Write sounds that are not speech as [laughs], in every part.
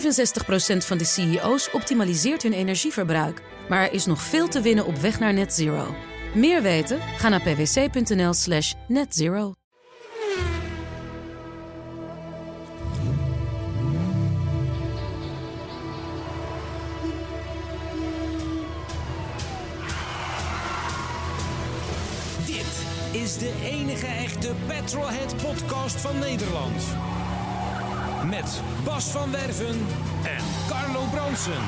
65% van de CEO's optimaliseert hun energieverbruik. Maar er is nog veel te winnen op weg naar net zero. Meer weten? Ga naar pwc.nl slash netzero. Dit is de enige echte Petrolhead podcast van Nederland. Met Bas van Werven en Carlo Bronsen.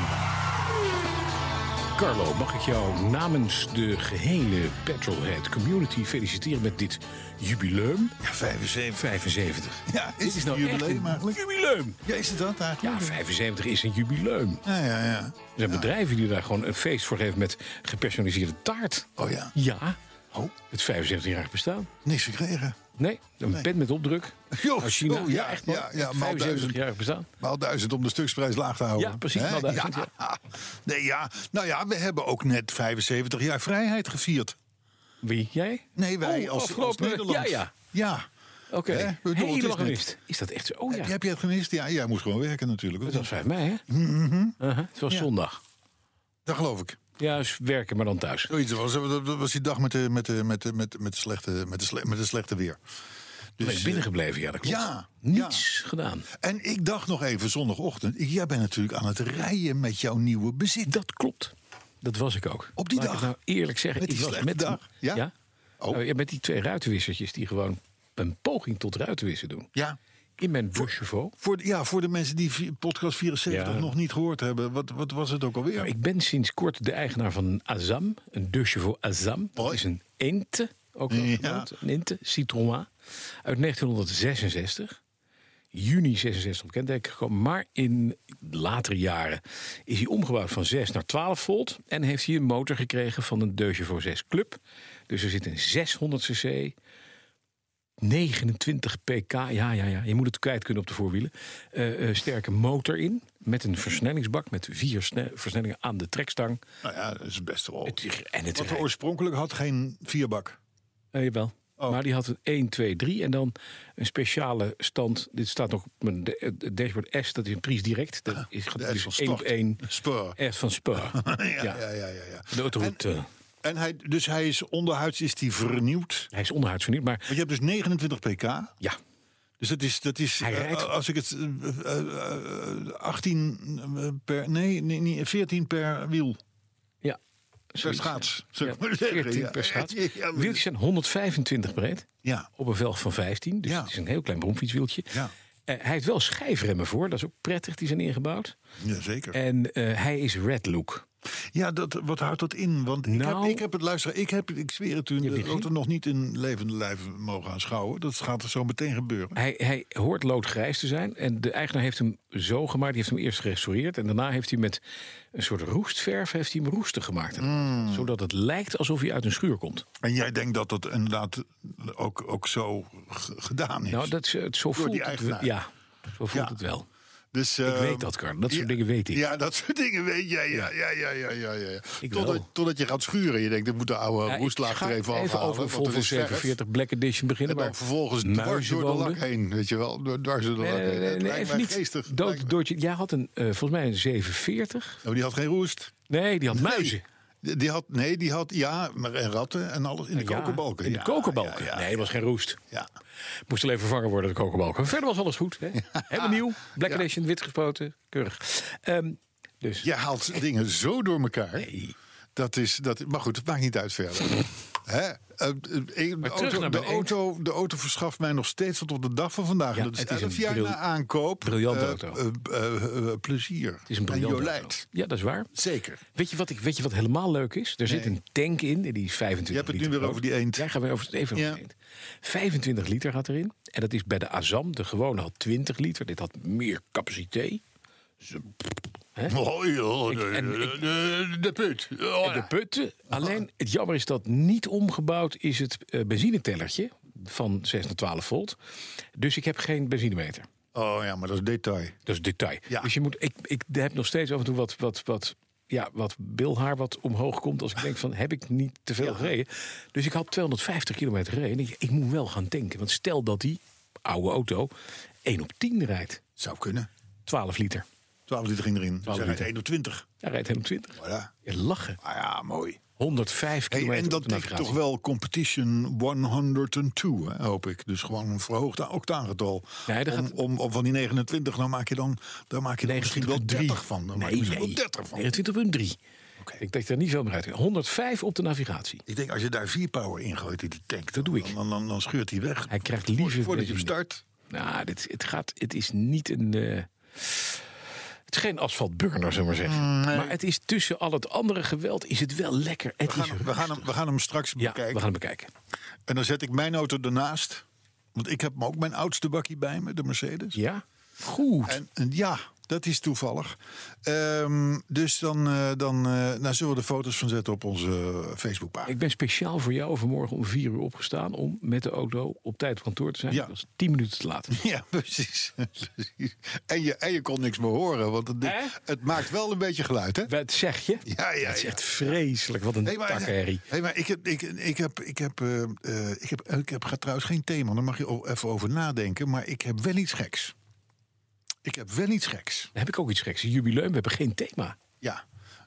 Carlo, mag ik jou namens de gehele Petrolhead community feliciteren met dit jubileum? Ja, 75. 75. [laughs] Ja, is, Dit het nou echt jubileum een eigenlijk? Jubileum! Ja, is het dat eigenlijk? Ja, 75 is een jubileum. Ja, ja, ja. Er zijn bedrijven die daar gewoon een feest voor geven met gepersonaliseerde taart. Oh ja, Ja, oh, het 75-jarig bestaan. niks gekregen. Nee, een pen met opdruk. Jo, Uit Oh, China. zo, ja, Oh, ja, echt man. ja, ja, maal duizend. 75-jarig bestaan. Maal duizend om de stuksprijs laag te houden. Ja, precies, Hè? maal duizend, Nee, ja. Nou ja, we hebben ook net 75 jaar vrijheid gevierd. Wie? Jij? Nee, wij Oh, als, als afgelopen- Nederland. Ja, ja. Ja. Oké. Hè? Ik bedoel, het is Helemaal net- gemist. Is dat echt zo? Oh ja. Heb je het gemist? Ja, jij moest gewoon werken natuurlijk. of Dat was niet? 5 mei, hè? Mhm. Uh-huh. Het was zondag. Dat geloof ik. Ja, dus werken, maar dan thuis. Zoiets was, dat was die dag met de, met de, met de, met de, met de slechte, met de, sle- met de slechte weer. Dus, ben ik binnengebleven, ja, dat klopt. ja, Niets gedaan. En ik dacht nog even zondagochtend, jij bent natuurlijk aan het rijden met jouw nieuwe bezit. Dat klopt. Dat was ik ook. Op die Laat dag? Ik het nou eerlijk zeggen, Met die ik was slechte met die- dag? Ja? Oh. Nou, ja, met die twee ruitenwissertjes die gewoon een poging tot ruitenwissen doen. Ja. In mijn Boschevaux. Voor, de- ja, voor de mensen die vi- podcast 74 Ja. nog niet gehoord hebben, wat, wat was het ook alweer? Nou, ik ben sinds kort de eigenaar van een Azam, een Boschevaux Azam. Dat Mooi. is een ente, ook wel Ja. genoemd, een ente, Citroën, uit 1966. Juni 66 op kenteken gekomen, maar in latere jaren is hij omgebouwd van 6 naar 12 volt en heeft hij een motor gekregen van een Boschevaux 6 Club. Dus er zit een 600 cc 29 pk, ja, ja, ja. Je moet het kwijt kunnen op de voorwielen. Eh, eh, sterke motor in. Met een versnellingsbak met vier sne- versnellingen aan de trekstang. nou ja, dat is best wel. Het- en het Want we rijdt. oorspronkelijk had geen vierbak. Eh, jawel. Oh. Maar die had een 1, 2, 3 en dan een speciale stand. Dit staat nog op mijn da- eh, dashboard S, dat is een prijs direct. Dat is gaat de dus S van één op stort. één. Spur. S van Spur. [laughs] Ja, ja. ja, ja, ja. ja. De autoroute. eh, En hij, dus hij is onderhuids is die vernieuwd. hij is onderhuids vernieuwd, maar Want je hebt dus 29 pk. ja. Dus dat is, dat is Hij eh, rijdt- als ik het eh, eh, eh, 18 per, nee, nee, nee, 14 per wiel. ja. Per Zoiets, schaats. Ja, zou ik maar zeggen. 14 Ja. per schaats. [laughs] Ja, ja, maar- Wieltjes zijn 125 breed. Ja. Op een velg van 15. Dus Ja. het is een heel klein bromfietswieltje. Ja. Eh, hij heeft wel schijfremmen voor. Dat is ook prettig. Die zijn ingebouwd. ja, zeker. En eh, hij is red look. Ja, dat, wat houdt dat in? Want ik, Nou- heb, ik heb het luisteren, ik heb, ik zweer het, toen hebt die de auto gezien? nog niet in levende lijf mogen aanschouwen. Dat gaat er zo meteen gebeuren. Hij, hij hoort loodgrijs te zijn. En de eigenaar heeft hem zo gemaakt. Die heeft hem eerst gerestaureerd. En daarna heeft hij met een soort roestverf heeft hij hem roestig gemaakt. Mm. Zodat het lijkt alsof hij uit een schuur komt. En jij denkt dat dat inderdaad ook, ook zo g- gedaan is. Nou, dat, is, eh, het, zo Door voelt die het, wel- eigenaar. ja, zo voelt Ja. het wel. dus, Ik weet dat, Karl. Dat soort ja, dingen weet ik. Ja, dat soort dingen weet jij. Ja, ja, ja, ja, ja. ja, ja. Ik Totdat, wel. totdat je gaat schuren. Je denkt, ik moet de oude Ja, ik roestlaag ga er even afhalen. even over een want Volvo er is verf. 47 Black Edition En beginnen. dan Maar vervolgens dwars door de lak heen. Weet je wel, Door- dwars door de lak Nee, nee, heen. nee, Het nee, lijkt even mij niet. geestig. Dood- Lijkt mij- Doortje, jij had een, eh, volgens mij een 740. Maar die had geen roest. Nee, die had muizen. Die die had, nee, die had, ja, maar en ratten en alles in de Ja, kokerbalken. In de Ja, kokerbalken. Ja, ja, nee, dat was geen roest. ja. Moest alleen vervangen worden, de kokerbalken. Verder was alles [laughs] goed. Hè? Helemaal nieuw. Black Ja. Edition, wit gespoten. Keurig. Ehm, dus. Je haalt dingen zo door elkaar. Dat is, dat, maar goed, het maakt niet uit [laughs] verder. Hè? Eh, eh, ik- de, terug naar auto, de, mijn eend. auto, de auto verschaft mij nog steeds tot op de dag van vandaag. Ja, En dat is het is een 11 jaar bril- na aankoop. briljante eh, auto. eh, eh, eh, plezier. Het is een en briljant. Jolijt. auto. Ja, dat is waar. Zeker. Weet je, wat ik, weet je wat helemaal leuk is? Er zit Nee. een tank in, en die is 25 liter. Je hebt het nu weer groot. over die eend. Ja, gaan we over, even over Ja. die eend. 25 liter gaat erin. En dat is bij de Azam, de gewone had 20 liter. Dit had meer capaciteit. Oh, joh, Ik- de, en de, de, de put. Oh, En de ja. putten. Alleen het jammer is dat niet omgebouwd is het eh, benzinetellertje van 6 naar 12 volt. Dus ik heb geen benzinemeter. oh ja, maar dat is detail. Dat is detail. Ja. Dus je moet, ik, ik heb nog steeds af en toe wat, wat, wat, ja, wat bilhaar wat omhoog komt. Als ik denk van heb ik niet te veel gereden. Dus ik had 250 kilometer gereden. En ik, ik moet wel gaan tanken. Want stel dat die oude auto 1 op 10 rijdt. Zou kunnen. 12 liter. 12 liter ging erin. Ze 12 rijdt liter. 1 op 20. Hij rijdt helemaal 20. Voilà. Ja, lachen. Ah ja, mooi. 105 Hey, kilometer en op dat de ligt navigatie. toch wel Competition 102, hè, hoop ik. Dus gewoon een verhoogd a- octaangetal. Nee, dat om, gaat- om, om van die 29, nou maak je dan, daar maak je dan misschien wel 29,3. 30 van. Dan maak je Nee, misschien nee. wel 30 van. 29,3. Oké. Ik denk daar niet veel meer uit. 105 op de navigatie. Ik denk, als je daar 4 power in gooit in die tank, dat doe ik. Dan, dan, dan scheurt hij weg. Hij krijgt liever Voordat je hem benzine. start. Nou, dit, het, gaat, het is niet een. eh, het is geen asfaltburner, zullen we maar zeggen. Mm, Maar het is tussen al het andere geweld is het wel lekker. [laughs] Het We gaan, is hem- we, gaan hem, we gaan hem straks ja, bekijken. we gaan hem bekijken. En dan zet ik mijn auto ernaast. Want ik heb ook mijn oudste bakkie bij me, de Mercedes. Ja? Goed. En, en ja, dat is toevallig. Ehm, dus dan, eh, dan eh, nou zullen we de foto's van zetten op onze Facebookpagina. ik ben speciaal voor jou vanmorgen om vier uur opgestaan om met de auto op tijd op kantoor te zijn. Ja. Dat was tien minuten te laat. [laughs] Ja, precies. Precies. en, je, en je kon niks meer horen, want het, Hè? het maakt wel een beetje geluid, hè? Wat zeg je? Ja, ja, Het is ja. echt vreselijk. Wat een Nee, maar, takherrie. nee, maar ik heb, ik, ik heb, ik heb, eh, eh, ik heb, ik heb ga trouwens geen thema. Daar mag je o- even over nadenken. Maar ik heb wel iets geks. Ik heb wel iets geks. Dan heb ik ook iets geks. Een Jubileum, we hebben geen thema. Ja,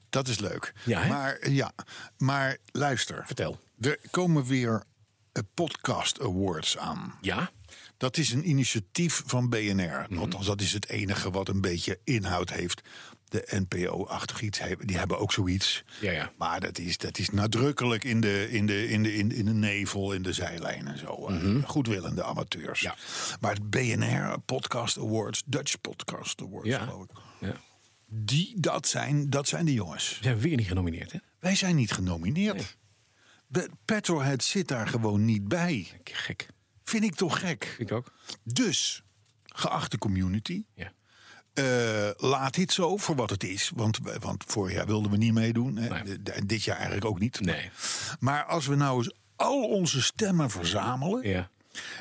dat is leuk. Ja, hè? maar, ja, maar luister. Vertel. Er komen weer eh, podcast awards aan. Ja? Dat is een initiatief van BNR. Mhm. Althans, dat is het enige wat een beetje inhoud heeft. De NPO-achtig iets hebben. Die hebben ook zoiets. Ja, ja. Maar dat is, dat is nadrukkelijk in de, in, de, in, de, in, in de nevel, in de zijlijn en zo. eh, Goedwillende amateurs. Mhm. Ja. Maar het BNR Podcast Awards, Dutch Podcast Awards, Ja. geloof ik. ja. Die, dat, zijn, dat zijn de jongens. We zijn weer niet genomineerd, hè? Wij zijn niet genomineerd. De- Petrolhead zit daar gewoon niet bij. Gek. Vind ik toch gek. Ik ook. Dus, geachte community, Ja. eh, laat dit zo voor wat het is. Want, we- want vorig jaar wilden we niet meedoen. Hè? Nee. D- Dit jaar eigenlijk ook niet. Nee. Maar als we nou eens al onze stemmen verzamelen. Ja.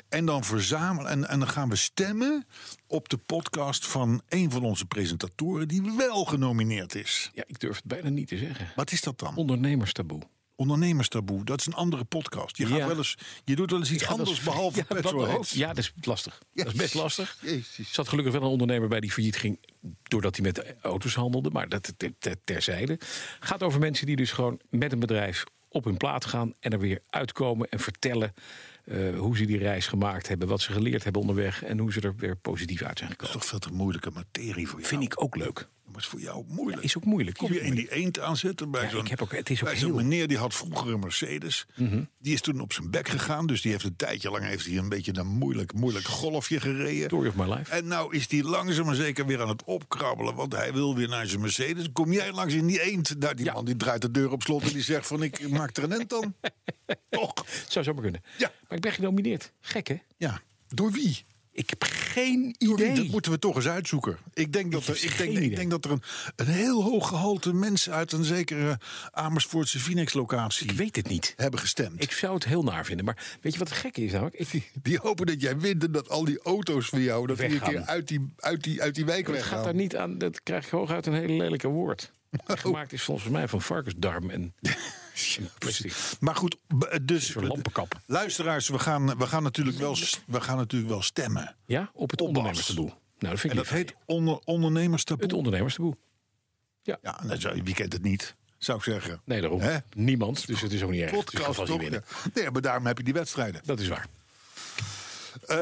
En dan verzamelen en, en dan gaan we stemmen op de podcast van een van onze presentatoren die wel genomineerd is. ja, ik durf het bijna niet te zeggen. Wat is dat dan? Ondernemerstaboe. Ondernemerstaboe, dat is een andere podcast. Je, gaat Ja. wel eens, je doet wel eens iets Ja, dat anders is- [laughs] behalve ja, petrolheads. dat- oh, Ja, dat is lastig. Dat is best lastig. Jezus. Er zat gelukkig wel een ondernemer bij die failliet ging... doordat hij met auto's handelde, maar dat ter- ter- terzijde. gaat over mensen die dus gewoon met een bedrijf op hun plaat gaan... en er weer uitkomen en vertellen eh, hoe ze die reis gemaakt hebben... wat ze geleerd hebben onderweg en hoe ze er weer positief uit zijn Dat gekomen. is toch veel te moeilijke materie voor jou. Vind ik ook leuk. Maar is voor jou moeilijk. Is ook moeilijk. Kom je in die eend aanzetten bij Ja, zo'n ik heb ook- het is ook bij zo'n heel- Mhm. meneer die had vroeger een Mercedes. Die is toen op zijn bek gegaan. Dus die heeft een tijdje lang heeft hij een beetje een moeilijk, moeilijk golfje gereden. Story of my life. En nou is hij langzaam maar zeker weer aan het opkrabbelen. Want hij wil weer naar zijn Mercedes. Kom jij langs in die eend? Nou, die man die draait de deur op slot en die zegt van ik maak er een [laughs] end dan. Toch? Het zou zomaar kunnen. Ja. Maar ik ben genomineerd. Gek, hè? Ja. Door wie? Ik heb geen Door wie? idee. Dat moeten we toch eens uitzoeken. Ik denk dat heb er, ik geen denk, ik idee. denk dat er een, een heel hoog gehalte mensen uit een zekere Amersfoortse Phoenix-locatie Ik weet het niet. hebben gestemd. Ik zou het heel naar vinden. Maar weet je wat het gekke is namelijk? [laughs] Ik, Die hopen dat jij wint en dat al die auto's van jou... dat die een Weggaan. keer uit die, uit die, uit die wijk het gaat weggaan. daar niet aan. Dat krijg je hooguit een hele lelijke woord. Gemaakt is volgens mij van varkensdarm [laughs] en, en plastic. Maar goed, b- dus... soort lampenkap. Luisteraars, we gaan, we, gaan natuurlijk wel, s- we gaan natuurlijk wel stemmen. Ja, op het Oppas. ondernemersdeboel. Nou, dat vind ik En dat lief van heet je. onder, ondernemerstaboe. het ondernemerstaboe. Ja, nou, zo- wie kent het niet, zou ik zeggen. Nee, daarom. Hè? Niemand. Dus het is ook niet erg. Dus ik ga Podcast vast niet toch? winnen. Ja. Nee, maar daarom heb je die wedstrijden. Dat is waar. Eh,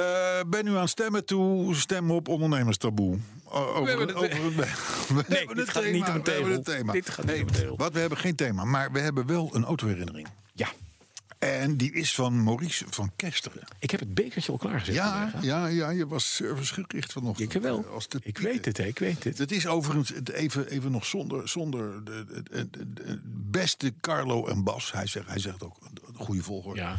ben u aan het stemmen toe? Stem op ondernemerstaboe. O- Over, hebben het- over, [laughs] we, Nee, hebben dit het gaat thema. niet om een we hebben tegel. het thema. Dit gaat niet Nee, om een tegel. Wat we hebben geen thema, maar we hebben wel een autoherinnering. Ja. En die is van Maurice van Kesteren. Ik heb het bekertje al klaargezet. Ja, vandaag, hè? ja, ja, je was servicegericht vanochtend. Ik wel. Eh, als de ik pieten. weet het, hè. Ik weet het. Het is overigens het even, even nog zonder, zonder de, de- de- de- de- beste Carlo en Bas. Hij zegt, hij zegt ook een een goede volgorde. Ja.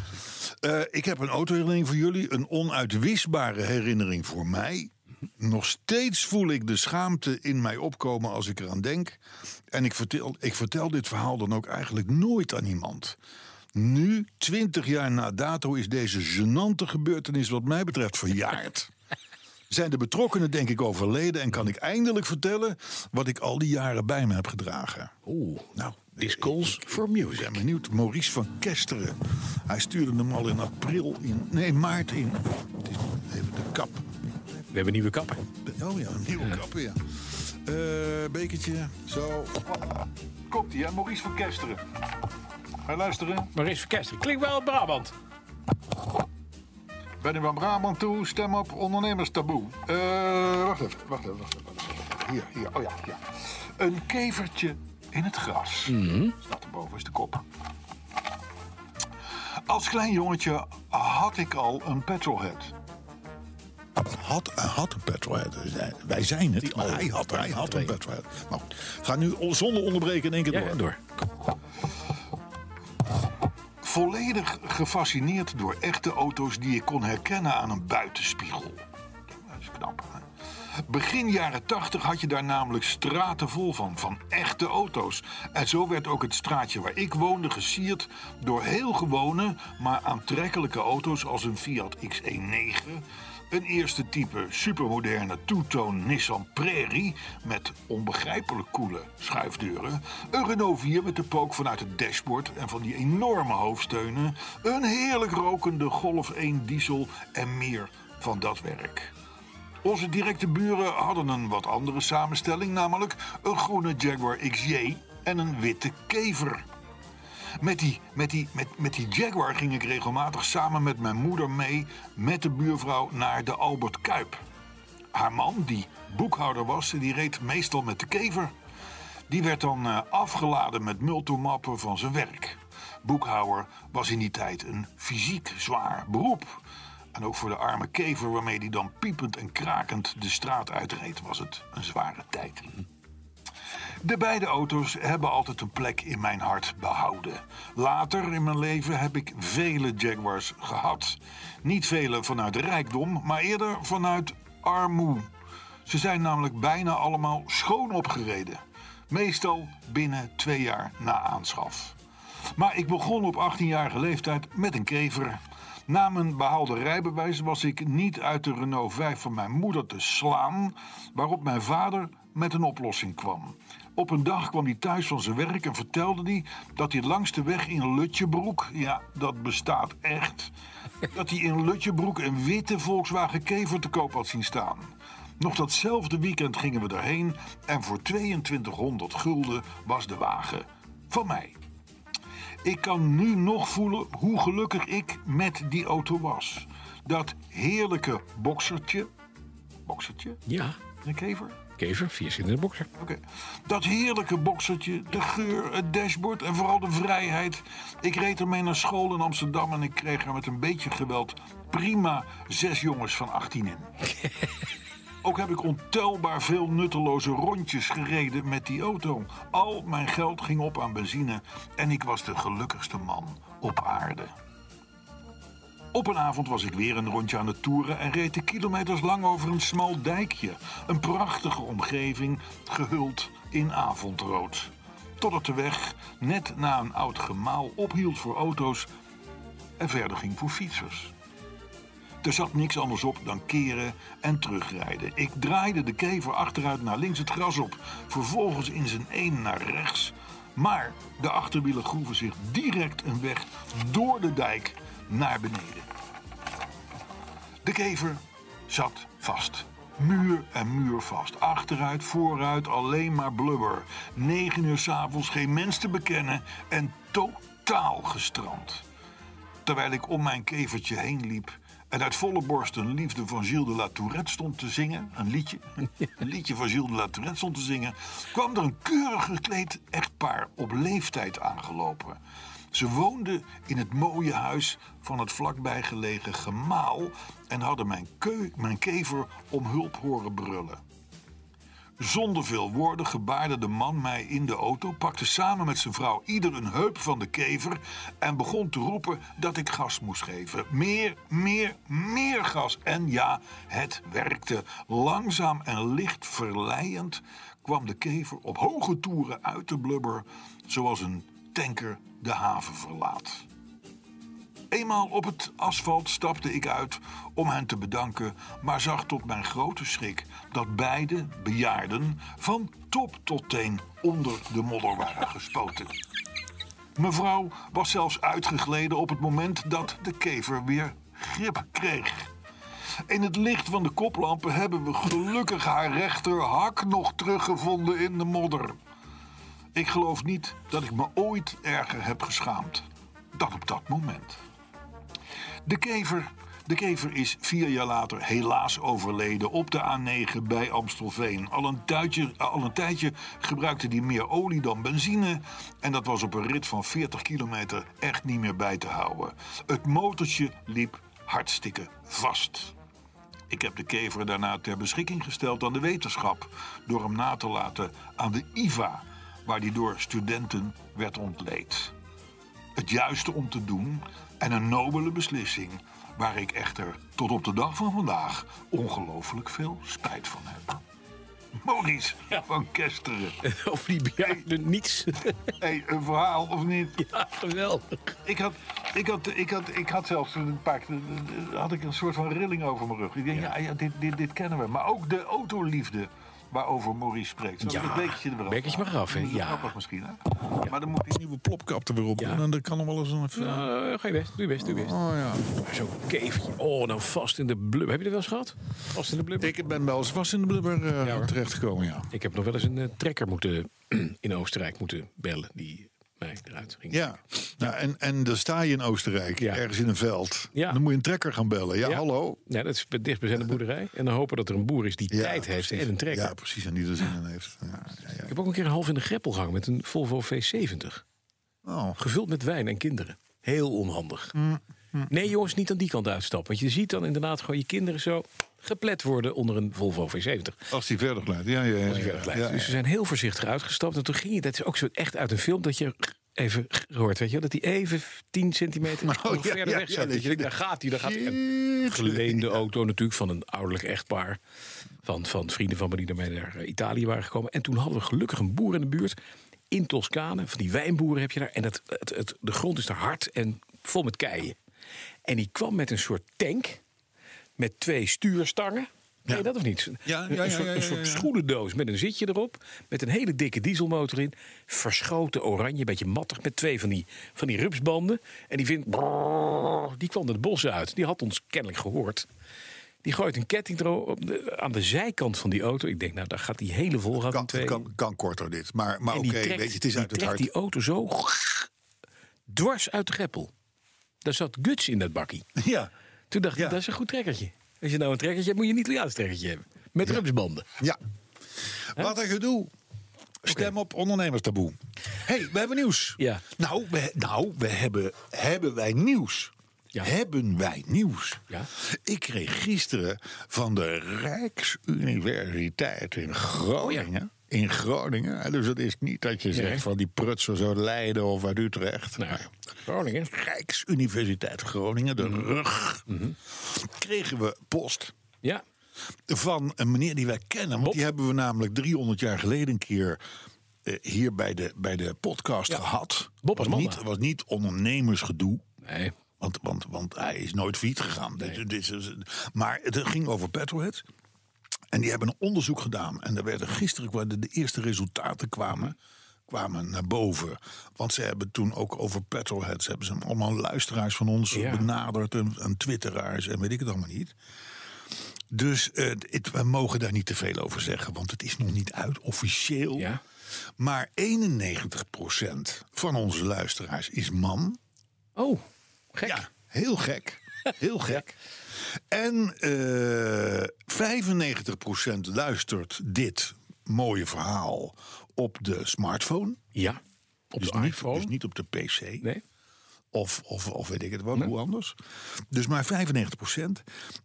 Eh, ik heb een autoherinnering voor jullie, een onuitwisbare herinnering voor mij. Nog steeds voel ik de schaamte in mij opkomen als ik eraan denk. En ik vertel, ik vertel dit verhaal dan ook eigenlijk nooit aan iemand. Nu, twintig jaar na dato, is deze genante gebeurtenis wat mij betreft verjaard. Zijn de betrokkenen denk ik overleden en kan ik eindelijk vertellen wat ik al die jaren bij me heb gedragen. Oeh. Nou, This calls for ik music. ben benieuwd. Maurice van Kesteren. Hij stuurde hem al in april in. Nee, maart in. Het is even de kap. We hebben nieuwe kappen. Oh ja, een nieuwe kap, ja. Eh, bekertje, zo. Komt ie, hè? Maurice van Kesteren. Wij luisteren. Maar is verkerst. Klinkt wel Brabant. Ben u van Brabant toe? Stem op ondernemerstaboe. Eh, wacht even, wacht even, wacht even. wacht even. Hier, hier, oh ja, ja. Een kevertje in het gras. Staat erboven, is de kop. Als klein jongetje had ik al een petrolhead. Had, had een petrolhead. dus Wij zijn het, maar hij had, hij had een petrolhead. Nou, ga nu zonder onderbreken in één keer Ja, door. Volledig gefascineerd door echte auto's die ik kon herkennen aan een buitenspiegel. Dat is knap. Hè? Begin jaren 80 had je daar namelijk straten vol van, van echte auto's. En zo werd ook het straatje waar ik woonde gesierd door heel gewone, maar aantrekkelijke auto's als een Fiat E X19, een eerste type supermoderne two-tone Nissan Prairie met onbegrijpelijk koele schuifdeuren, een Renault 4 met de pook vanuit het dashboard en van die enorme hoofdsteunen, een heerlijk rokende Golf 1 diesel en meer van dat werk. Onze directe buren hadden een wat andere samenstelling, namelijk een groene Jaguar XJ en een witte kever. Met die, met, die, met, met die Jaguar ging ik regelmatig samen met mijn moeder mee met de buurvrouw naar de Albert Kuip. Haar man, die boekhouder was, die reed meestal met de kever. Die werd dan eh, afgeladen met multomappen van zijn werk. Boekhouwer was in die tijd een fysiek zwaar beroep. En ook voor de arme kever waarmee die dan piepend en krakend de straat uitreed, was het een zware tijd. De beide auto's hebben altijd een plek in mijn hart behouden. Later in mijn leven heb ik vele Jaguars gehad. Niet vele vanuit rijkdom, maar eerder vanuit armoe. Ze zijn namelijk bijna allemaal schoon opgereden. Meestal binnen twee jaar na aanschaf. Maar ik begon op 18-jarige leeftijd met een kever. Na mijn behaalde rijbewijs was ik niet uit de Renault 5 van mijn moeder te slaan, waarop mijn vader met een oplossing kwam. Op een dag kwam hij thuis van zijn werk en vertelde hij dat hij langs de weg in Lutjebroek, ja, dat bestaat echt, dat hij in Lutjebroek een witte Volkswagen Kever te koop had zien staan. Nog datzelfde weekend gingen we daarheen en voor 2200 gulden was de wagen van mij. Ik kan nu nog voelen hoe gelukkig ik met die auto was. Dat heerlijke boksertje. Boksertje? Ja. Een kever? Kever, viercilinder bokser. Oké. Dat heerlijke boksertje, de geur, het dashboard en vooral de vrijheid. Ik reed ermee naar school in Amsterdam en ik kreeg er met een beetje geweld prima zes jongens van 18 in. Ook heb ik ontelbaar veel nutteloze rondjes gereden met die auto. Al mijn geld ging op aan benzine en ik was de gelukkigste man op aarde. Op een avond was ik weer een rondje aan het toeren en reed de kilometers lang over een smal dijkje. Een prachtige omgeving, gehuld in avondrood. Totdat de weg net na een oud gemaal ophield voor auto's en verder ging voor fietsers. Er zat niks anders op dan keren en terugrijden. Ik draaide de kever achteruit naar links het gras op. Vervolgens in zijn een naar rechts. Maar de achterwielen groeven zich direct een weg door de dijk naar beneden. De kever zat vast. Muur en muur vast. Achteruit, vooruit, alleen maar blubber. Negen uur s'avonds, geen mens te bekennen en totaal gestrand terwijl ik om mijn kevertje heen liep en uit volle borst een liefde van Gilles de La Tourette stond te zingen, een liedje, een liedje van Gilles de La Tourette stond te zingen, kwam er een keurig gekleed echtpaar op leeftijd aangelopen. Ze woonden in het mooie huis van het vlakbijgelegen gemaal en hadden mijn, keu- mijn kever om hulp horen brullen. Zonder veel woorden gebaarde de man mij in de auto, pakte samen met zijn vrouw ieder een heup van de kever en begon te roepen dat ik gas moest geven. Meer, meer, meer gas. En ja, het werkte. Langzaam en licht verleiend kwam de kever op hoge toeren uit de blubber, zoals een tanker de haven verlaat. Eenmaal op het asfalt stapte ik uit om hen te bedanken, maar zag tot mijn grote schrik dat beide bejaarden van top tot teen onder de modder waren gespoten. Mevrouw was zelfs uitgegleden op het moment dat de kever weer grip kreeg. In het licht van de koplampen hebben we gelukkig haar rechterhak nog teruggevonden in de modder. Ik geloof niet dat ik me ooit erger heb geschaamd dan op dat moment. De kever, de kever is vier jaar later helaas overleden op de A9 bij Amstelveen. Al een, tuitje, al een tijdje gebruikte hij meer olie dan benzine. En dat was op een rit van 40 kilometer echt niet meer bij te houden. Het motortje liep hartstikke vast. Ik heb de kever daarna ter beschikking gesteld aan de wetenschap. door hem na te laten aan de IVA, waar die door studenten werd ontleed het juiste om te doen en een nobele beslissing. Waar ik echter tot op de dag van vandaag ongelooflijk veel spijt van heb. Maurice van Kesteren. [laughs] Of die bejaarde niets. Hey, een verhaal of niet? [laughs] Ja, geweldig. Ik had, ik had, ik had, ik had zelfs een paar keer- had ik een soort van rilling over mijn rug. Ik denk, ja, ja, dit, dit, dit kennen we. Maar ook de autoliefde waarover Maurice spreekt. Zal ik Ja, dat bekertje er wel bekertje mag eraf, hè? Dat is wel Ja. grappig misschien, hè? Maar dan moet die nieuwe plopkap er weer op. Ja. En dan kan er wel eens een... Nou, ga je best, doe je best, doe je best. Oh ja. Maar Zo'n kevertje. Oh, nou vast in de blubber. Heb je dat wel eens gehad? Vast in de blubber? Ik ben wel eens vast in de blubber eh, Ja, hoor. terechtgekomen, ja. Ik heb nog wel eens een eh, trekker moeten [clears throat] in Oostenrijk moeten bellen die mij eruit ging. Ja, Nou, en, en dan sta je in Oostenrijk, Ja. ergens in een veld. Ja. Dan moet je een trekker gaan bellen. Ja, hallo. Ja, dat is bij- dichtbij zijn boerderij. En dan hopen dat er een boer is die Ja, tijd heeft precies. en een trekker. Ja, precies, en die er zin in heeft. Ja, ja, ja. Ik heb ook een keer een half in de greppel gehangen met een Volvo V70. Oh. Gevuld met wijn en kinderen. Heel onhandig. Nee jongens, niet aan die kant uitstappen. Want je ziet dan inderdaad gewoon je kinderen zo geplet worden onder een Volvo V70. Als die verder glijdt. Ja, ja, ja. die verder glijdt. ja, ja. Dus ze zijn heel voorzichtig uitgestapt. En toen ging je, dat is ook zo echt uit een film, dat je even hoort, weet je wel, dat hij even 10 centimeter [laughs] Oh, nog ja, verder ja, weg ja, zat. dat dat je je denkt, daar gaat hij, daar gaat hij. En Shit. Geleende auto natuurlijk van een ouderlijk echtpaar. Van, van vrienden van me die daarmee naar eh, Italië waren gekomen. En toen hadden we gelukkig een boer in de buurt. In Toscane, van die wijnboeren heb je daar. En het, het, het, de grond is daar hard en vol met keien. En die kwam met een soort tank met twee stuurstangen. Nee, dat of niet? Ja, Een- ja, een ja, soort, ja, een ja, soort ja. schoenendoos met een zitje erop. Met een hele dikke dieselmotor in. Verschoten oranje, een beetje mattig. Met twee van die, van die rupsbanden. En die vindt. Die kwam het bos uit. Die had ons kennelijk gehoord. Die gooit een ketting ero- op de- aan de zijkant van die auto. Ik denk, nou, daar gaat die hele volraad in Kan, twee. kan, kan korter dit. Maar, maar en oké, die trekt, weet je, het is die, uit het trekt hart. die auto zo dwars uit de greppel. Daar zat guts in dat bakkie. [laughs] Ja. Toen dacht ik, Ja. dat is een goed trekkertje. Als je nou een trekkertje hebt, moet je een Italiaans trekkertje hebben. Met rupsbanden. ja. Wat een gedoe. Stem op ondernemerstaboe. hey, we hebben nieuws. Ja. Nou, we, nou we hebben, hebben wij nieuws. Ja. Hebben wij nieuws? Ja. Ik kreeg gisteren van de Rijksuniversiteit Oh in Groningen. In Groningen. hè, Dus het is niet dat je zegt Nee. van die prutsen zo Leiden of uit Utrecht. Nou, Maar Groningen. Rijksuniversiteit Groningen, Mhm. de rug. Kregen we post Ja. van een meneer die wij kennen. Want Bob. die hebben we namelijk 300 jaar geleden een keer eh, hier bij de, bij de podcast gehad. Bob was Amanda. niet, was niet ondernemersgedoe. Nee. Want, want, want hij is nooit failliet gegaan. Dit, dit is, maar het ging over Petrohead. En die hebben een onderzoek gedaan. En daar werden gisteren kwa- de, de eerste resultaten kwamen, kwamen naar boven. Want ze hebben toen ook over Petroheads. Hebben ze allemaal luisteraars van ons Ja. benaderd. En, en twitteraars en weet ik het allemaal niet. Dus eh, het- we mogen daar niet te veel over zeggen. Want het is nog niet uit officieel. Ja. Maar 91% van onze luisteraars is man. Oh, gek. Ja, heel gek. [laughs] Heel gek. En eh 95% luistert dit mooie verhaal op de smartphone. Ja. Op dus, de niet, iPhone. dus niet op de PC. Nee. Of, of, of weet ik het wel, hoe anders. Dus maar 95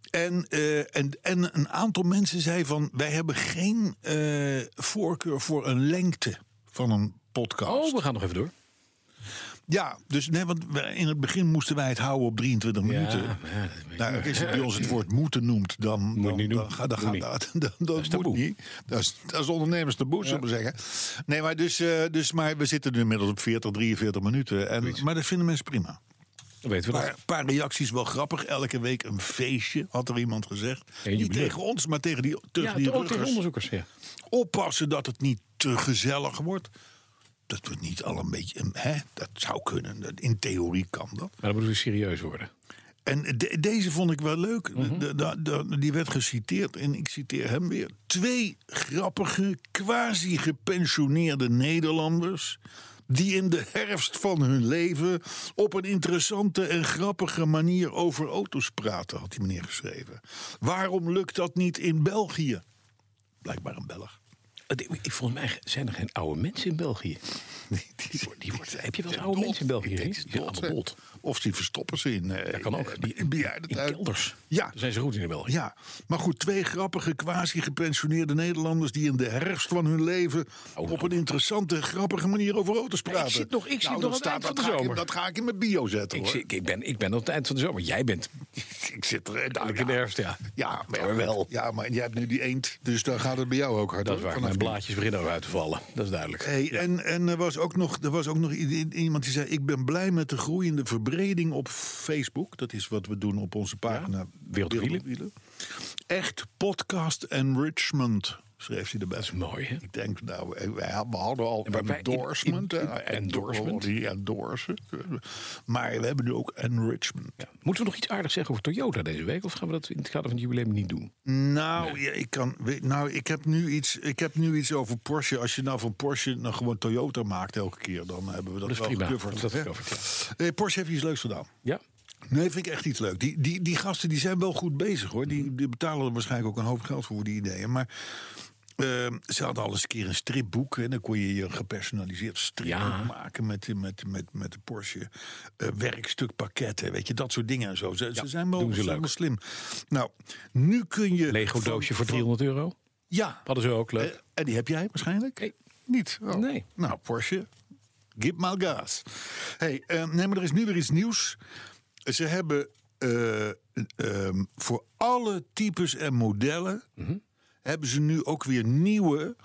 En, eh, en, en een aantal mensen zei van... wij hebben geen eh, voorkeur voor een lengte van een podcast. Oh, we gaan nog even door. Ja, dus nee, want we- in het begin moesten wij het houden op 23 minuten. maar ja, dat weet ik Nou, als je bij ons het woord moeten noemt, dan je dan- niet doen. dan ga- dan Moet gaat niet. dat. Dat, dat is moet taboe. niet. Dat is, dat is ondernemers taboe, zullen we zeggen. Nee, maar, dus, eh, dus, maar we zitten nu inmiddels op 40, 43 minuten. En, maar dat vinden mensen prima. Dan weten we Een dat. paar, paar reacties wel grappig. Elke week een feestje, had er iemand gezegd. Niet jubileum. tegen ons, maar tegen die, tegen Ja, die de- ook tegen ruggers. onderzoekers. Ja. Oppassen dat het niet te gezellig wordt. Dat we niet al een beetje... Hè, dat zou kunnen. Dat- In theorie kan dat. Maar dan moeten we serieus worden. En de- deze vond ik wel leuk. De- de- de- die werd geciteerd en ik citeer hem weer. Twee grappige, quasi-gepensioneerde Nederlanders. Die in de herfst van hun leven op een interessante en grappige manier over auto's praten, had die meneer geschreven. Waarom lukt dat niet in België? Blijkbaar een Belg. Het- Eh, Ik, volgens mij zijn er geen oude mensen in België. Die, wordt- die wordt, heb je wel eens oude Dot. mensen in België? Ik denk Riet? dat Die het zijn dot, allemaal hè. dot. Of die verstoppen ze in, eh, Dat kan ook. in, in in bejaardentehuis. kelders. Eh, Ja, Daar zijn ze goed in in België. ja, maar goed, twee grappige quasi-gepensioneerde Nederlanders... die in de herfst van hun leven op een interessante en grappige manier over auto's praten. zit nog- Oh, nou. ik zit Nou, nog dat aan het eind van dat de ga ik in- zomer. dat ga ik in mijn bio zetten, Ik, hoor. zie- ik, ben, ik ben op het eind van de zomer. Jij bent ik zit er eh, nou, duidelijk in de ja. herfst, ja. Ja, Maar wel. maar wel. Ja, maar jij hebt nu die eend, dus dan gaat het bij jou ook hard. Dat is hoor, waar. vanaf Mijn nu. blaadjes beginnen ook uit te vallen. Dat is duidelijk. Hey, en, en er was ook nog, er was ook nog i- i- iemand die zei: Ik ben blij met de groeiende verbreding op Facebook. Dat is wat we doen op onze pagina. Wereld op Wielen. Wielen. Echt podcast enrichment, schreef hij erbij. Dat is mooi, hè? Ik denk, nou, we- we hadden al Maar wij- endorsement. in- in- hè, endorsement. Die endorsen. Maar we hebben nu ook enrichment. Moeten we nog iets aardigs zeggen over Toyota deze week? Of gaan we dat in het kader van het jubileum niet doen? Nou, ja, ik, kan, weet- nou ik, heb nu iets, ik heb nu iets over Porsche. Als je nou van Porsche nou gewoon Toyota maakt elke keer, dan hebben we dat, Dat is wel prima. gecoverd, Dat is hè? gecoverd, Eh, Porsche heeft iets leuks gedaan. Ja? Nee, vind ik echt iets leuk. Die, die, die gasten die zijn wel goed bezig hoor. Die, die betalen er waarschijnlijk ook een hoop geld voor, voor die ideeën. Maar eh, ze hadden al eens een keer een stripboek. En dan kon je je gepersonaliseerd stripboek Ja. maken met, met, met, met de Porsche. Eh, werkstukpakketten, weet je, dat soort dingen en zo. Ze, ze zijn wel, doen ze ze zijn leuk. wel slim. Nou, nu kun je. van- Lego-doosje voor van- 300 euro? Ja, Hadden ze ook leuk. eh, en die heb jij waarschijnlijk? Nee. Niet? Oh. Nee. Nou, Porsche, give my gas. Hey, eh, nee, maar er is nu weer iets nieuws. Ze hebben eh, ehm, voor alle types en modellen... hebben ze nu ook weer nieuwe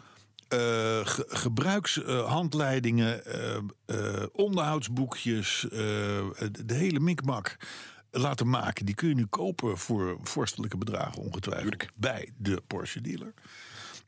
eh, gebruikshandleidingen... eh, onderhoudsboekjes, eh, de, de hele mikmak laten maken. Die kun je nu kopen voor vorstelijke bedragen ongetwijfeld... bij de Porsche dealer.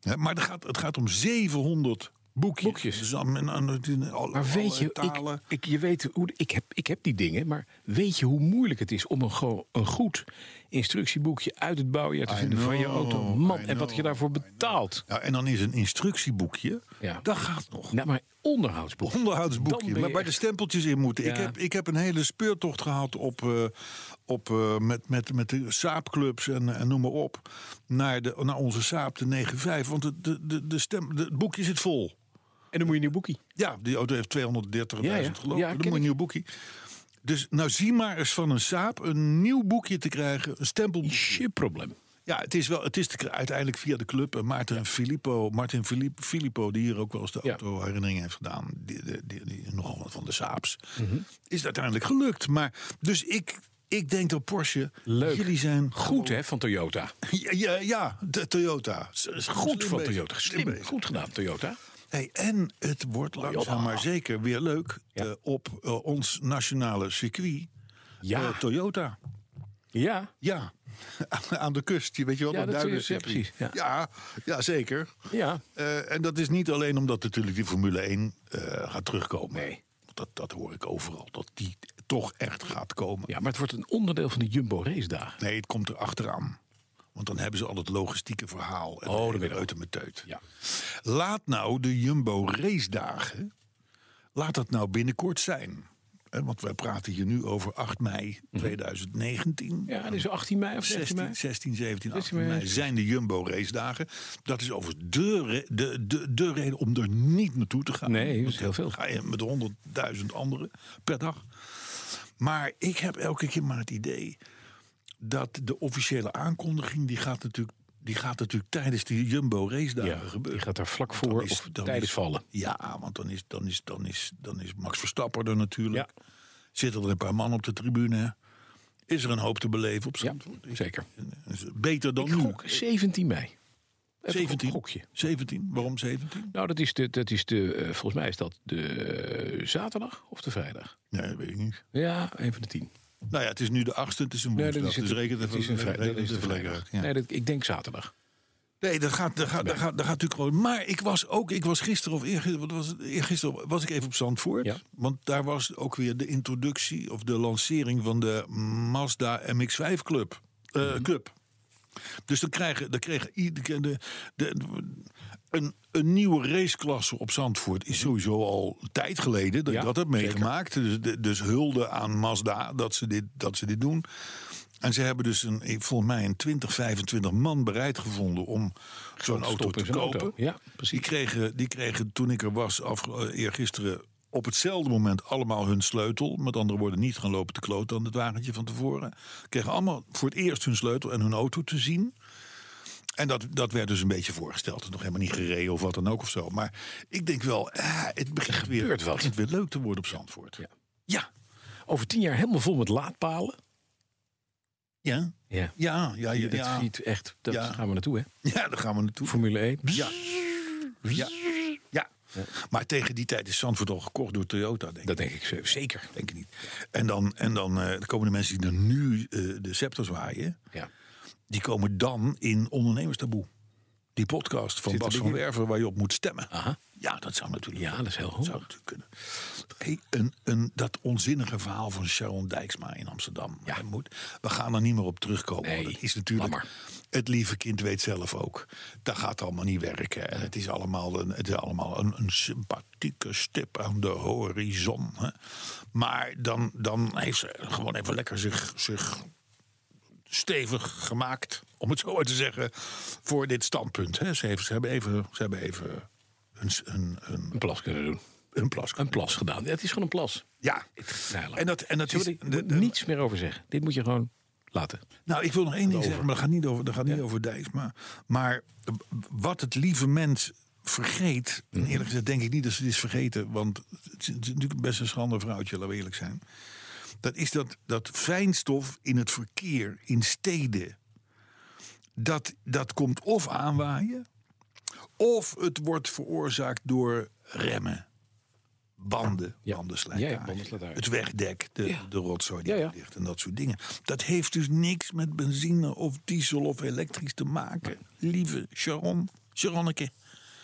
Hè, maar het gaat, het gaat om 700 boekjes. Boekjes. Dus aan, aan, aan- in alle- Maar weet alle je, ik, talen. ik, je weet hoe, ik, heb, ik heb die dingen, maar weet je hoe moeilijk het is om een, go- een goed instructieboekje uit het bouwjaar te I vinden van je know, auto? I Man, en wat je know, daarvoor I know. betaalt. Ja, en dan is een instructieboekje, Ja. dat gaat nog. Nou, maar [laughs] onderhoudsboek. Dan Onderhoudsboekje, ben maar je waar de echt- stempeltjes in moeten. Ik, Ja. heb, ik heb een hele speurtocht gehad op, eh, op, eh, met, met, met de saapclubs en, en noem maar op. Naar, de, naar onze saap, de 95. Want de, de, de, de stem, de, het boekje zit vol. En dan moet je een nieuw boekje. Ja, die auto heeft 230.000 Ja, ja. gelopen. Ja, ken Dan moet je een ik. nieuw boekje. Dus nou zie maar eens van een saap een nieuw boekje te krijgen. Een stempelboekje. Shit probleem. Ja, het is, wel, het is te kri- uiteindelijk via de club. En Maarten Filippo, Martin Filip- Filippo, die hier ook wel eens de Ja. auto-herinnering heeft gedaan. Die, die, die, die is nogal wat van de Saaps. Mhm. Is het uiteindelijk gelukt. Maar, dus ik, ik denk dat Porsche... Leuk. Jullie zijn Goed, hè, van Toyota. [laughs] Ja, ja, ja, de Toyota. S- s- Goed slim van bezig, Toyota. slim Slim. bezig. Goed gedaan, Toyota. Hey, en het wordt langzaam maar zeker weer leuk eh, op eh, ons nationale circuit. Ja. eh, Toyota. Ja. Ja, [laughs] aan de kust. Je weet je wel, Ja, dat dat duinen is- ja, precies, ja. ja, ja, zeker. Ja. Eh, en dat is niet alleen omdat natuurlijk die Formule 1 eh, gaat terugkomen. Nee. Dat, dat hoor ik overal, dat die toch echt gaat komen. Ja, maar het wordt een onderdeel van de Jumbo Race dagen. Nee, het komt er achteraan. Want dan hebben ze al het logistieke verhaal. En Oh, de dat hele weet ik. reuter met teut. Ja. Laat nou de Jumbo race dagen, laat dat nou binnenkort zijn. Hè, Want wij praten hier nu over 8 mei Mhm. 2019. Ja, dat is 18 mei of 16 mei. 16, 16, 17, 18 mei. mei zijn de Jumbo race dagen. Dat is overigens de, re- de, de, de reden om er niet naartoe te gaan. Nee, dat Want is heel veel. dan Ga je met 100.000 anderen per dag. Maar ik heb elke keer maar het idee dat de officiële aankondiging... die gaat natuurlijk, die gaat natuurlijk tijdens die Jumbo race dagen Ja, gebeuren. die gaat daar vlak voor is- of dan tijdens is- vallen. Ja, want dan is, dan is, dan is, dan is Max Verstappen er natuurlijk. Ja. Zitten er een paar man op de tribune. Is er een hoop te beleven op Ja, Zandvoort? zeker. Is het Beter dan Ik nu. gok 17 mei. Even 17. Een gokje. 17? Waarom 17? Nou, dat is de, dat is de eh, volgens mij is dat de eh, zaterdag of de vrijdag. Nee, dat weet ik niet. Ja, een van de tien. Nou ja, het is nu de achtste, het is een woensdag. dat dus reken dat even- is een vrij- reken dat is het de even lekker vrijdag. uit, ja. Nee, dat, ik denk zaterdag. Nee, dat gaat, dat gaat, dat gaat, dat gaat natuurlijk gewoon. Maar ik was ook, ik was gisteren of eergisteren, wat was, het? eergisteren was ik even op Zandvoort. Ja. Want daar was ook weer de introductie of de lancering van de Mazda MX-5 Club. eh, Mhm. club. Dus dan krijgen, dan kregen iedereen de, de, een, een nieuwe raceklasse op Zandvoort is sowieso al een tijd geleden dat Ja, ik dat heb zeker. meegemaakt. Dus, de- dus hulde aan Mazda dat ze dit, dat ze dit doen. En ze hebben dus een, ik- volgens mij een 20, 25 man bereid gevonden om zo'n auto Stoppen te is een kopen. auto. Ja, Die precies. kregen, die kregen toen ik er was, afge- eh, eergisteren, op hetzelfde moment allemaal hun sleutel. Met andere woorden, niet gaan lopen te kloten aan het wagentje van tevoren. Kregen allemaal voor het eerst hun sleutel en hun auto te zien. En dat, dat werd dus een beetje voorgesteld. Nog helemaal niet gereden of wat dan ook of zo. Maar ik denk wel, eh, het begint weer, gebeurt wat. begint weer leuk te worden op Zandvoort. Ja. Ja. Over tien jaar helemaal vol met laadpalen. Ja. Ja. Ja, ja, ja, Dat ja. ziet echt, daar Ja. gaan we naartoe, hè? Ja, daar gaan we naartoe. Formule 1. Ja. Ja. ja. Maar tegen die tijd is Zandvoort al gekocht door Toyota, denk ik. Dat denk ik zo- zeker. Denk ik niet. En dan, en dan eh, komen de mensen die er nu eh, de scepter zwaaien... Ja. die komen dan in Ondernemerstaboe. Die podcast van Zit er Bas die van in? Werver waar je op moet stemmen. Aha. Ja, dat zou natuurlijk, ja, dat is heel dat zou goed. natuurlijk kunnen. Hey, een, een, dat onzinnige verhaal van Sharon Dijksma in Amsterdam. Ja. Hij Moet, we gaan er niet meer op terugkomen. want Nee, dat is natuurlijk... laat maar. Het lieve kind weet zelf ook. Dat gaat allemaal niet werken. En het is allemaal een, het is allemaal een, een sympathieke stip aan de horizon. Hè. Maar dan, dan heeft ze gewoon even lekker zich, zich stevig gemaakt, om het zo maar te zeggen, voor dit standpunt. Hè. Ze, heeft, ze hebben even, ze hebben even een, s- een, een, Een plas kunnen doen. een plas. Een plas gedaan. Het is gewoon een plas. Ja, Nou, laat. en dat, en dat Zullen is... we er de- de- niets meer over zeggen. Dit moet je gewoon laten. Nou, ik wil nog één ding Over. zeggen, maar dat gaat niet over, dat gaat niet over Dijs. Maar, maar eh, wat het lieve mens vergeet, Mhm. en eerlijk gezegd denk ik niet dat ze dit is vergeten, want het is, het is natuurlijk best een schande vrouwtje, laten we eerlijk zijn. Dat is dat, dat fijnstof in het verkeer, in steden, dat, dat komt of aanwaaien, of het wordt veroorzaakt door remmen. Banden, Ja. bandenslijtage, Ja, ja, bandenslijtage. het wegdek, de, Ja. de rotzooi die Ja, ja. er ligt en dat soort dingen. Dat heeft dus niks met benzine of diesel of elektrisch te maken. Lieve Sharon, Sharonneke,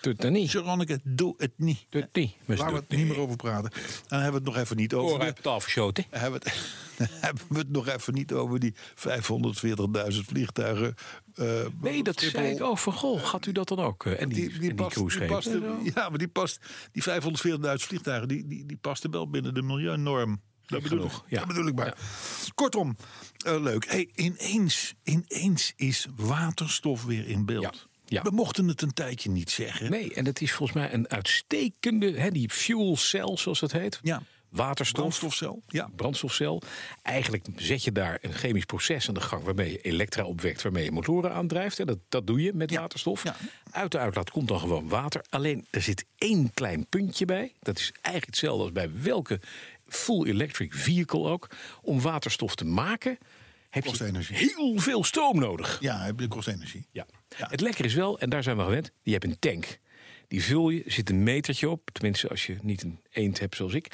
Doet dat niet. Sharonneke, doe het niet. Doet het niet. Maar ze Laten we doet het niet meer over praten. Dan hebben we het nog even niet over... de- het afgeschoten. hebben we het, [laughs] hebben we het nog even niet over die 540.000 vliegtuigen. eh, Nee, dat Schiphol. zei ik. Oh, van goh, gaat u dat dan ook? eh, En die, en die past- die cruiseschepen? past er- ja, maar die past. Die 540.000 vliegtuigen, die, die, die pasten wel binnen de milieunorm. Dat bedoel, ik, genoeg, ja. dat bedoel ik maar. Kortom, eh, leuk. Hey, ineens, ineens is waterstof weer in beeld. ja. We mochten het een tijdje niet zeggen. Nee, en dat is volgens mij een uitstekende, hè, die fuel cell zoals dat heet. Ja. Waterstof, Brandstofcel. Ja. brandstofcel. Eigenlijk zet je daar een chemisch proces aan de gang waarmee je elektra opwekt, waarmee je motoren aandrijft. En dat, dat doe je met Ja, waterstof. ja. Uit de uitlaat komt dan gewoon water. Alleen er zit één klein puntje bij. Dat is eigenlijk hetzelfde als bij welke full electric vehicle ook. Om waterstof te maken heb Kost je energie. heel veel stroom nodig. Ja, het kost energie. Ja. Ja. Het lekker is wel, en daar zijn we aan gewend, je hebt een tank. Die vul je, zit een metertje op. Tenminste, als je niet een eend hebt zoals ik.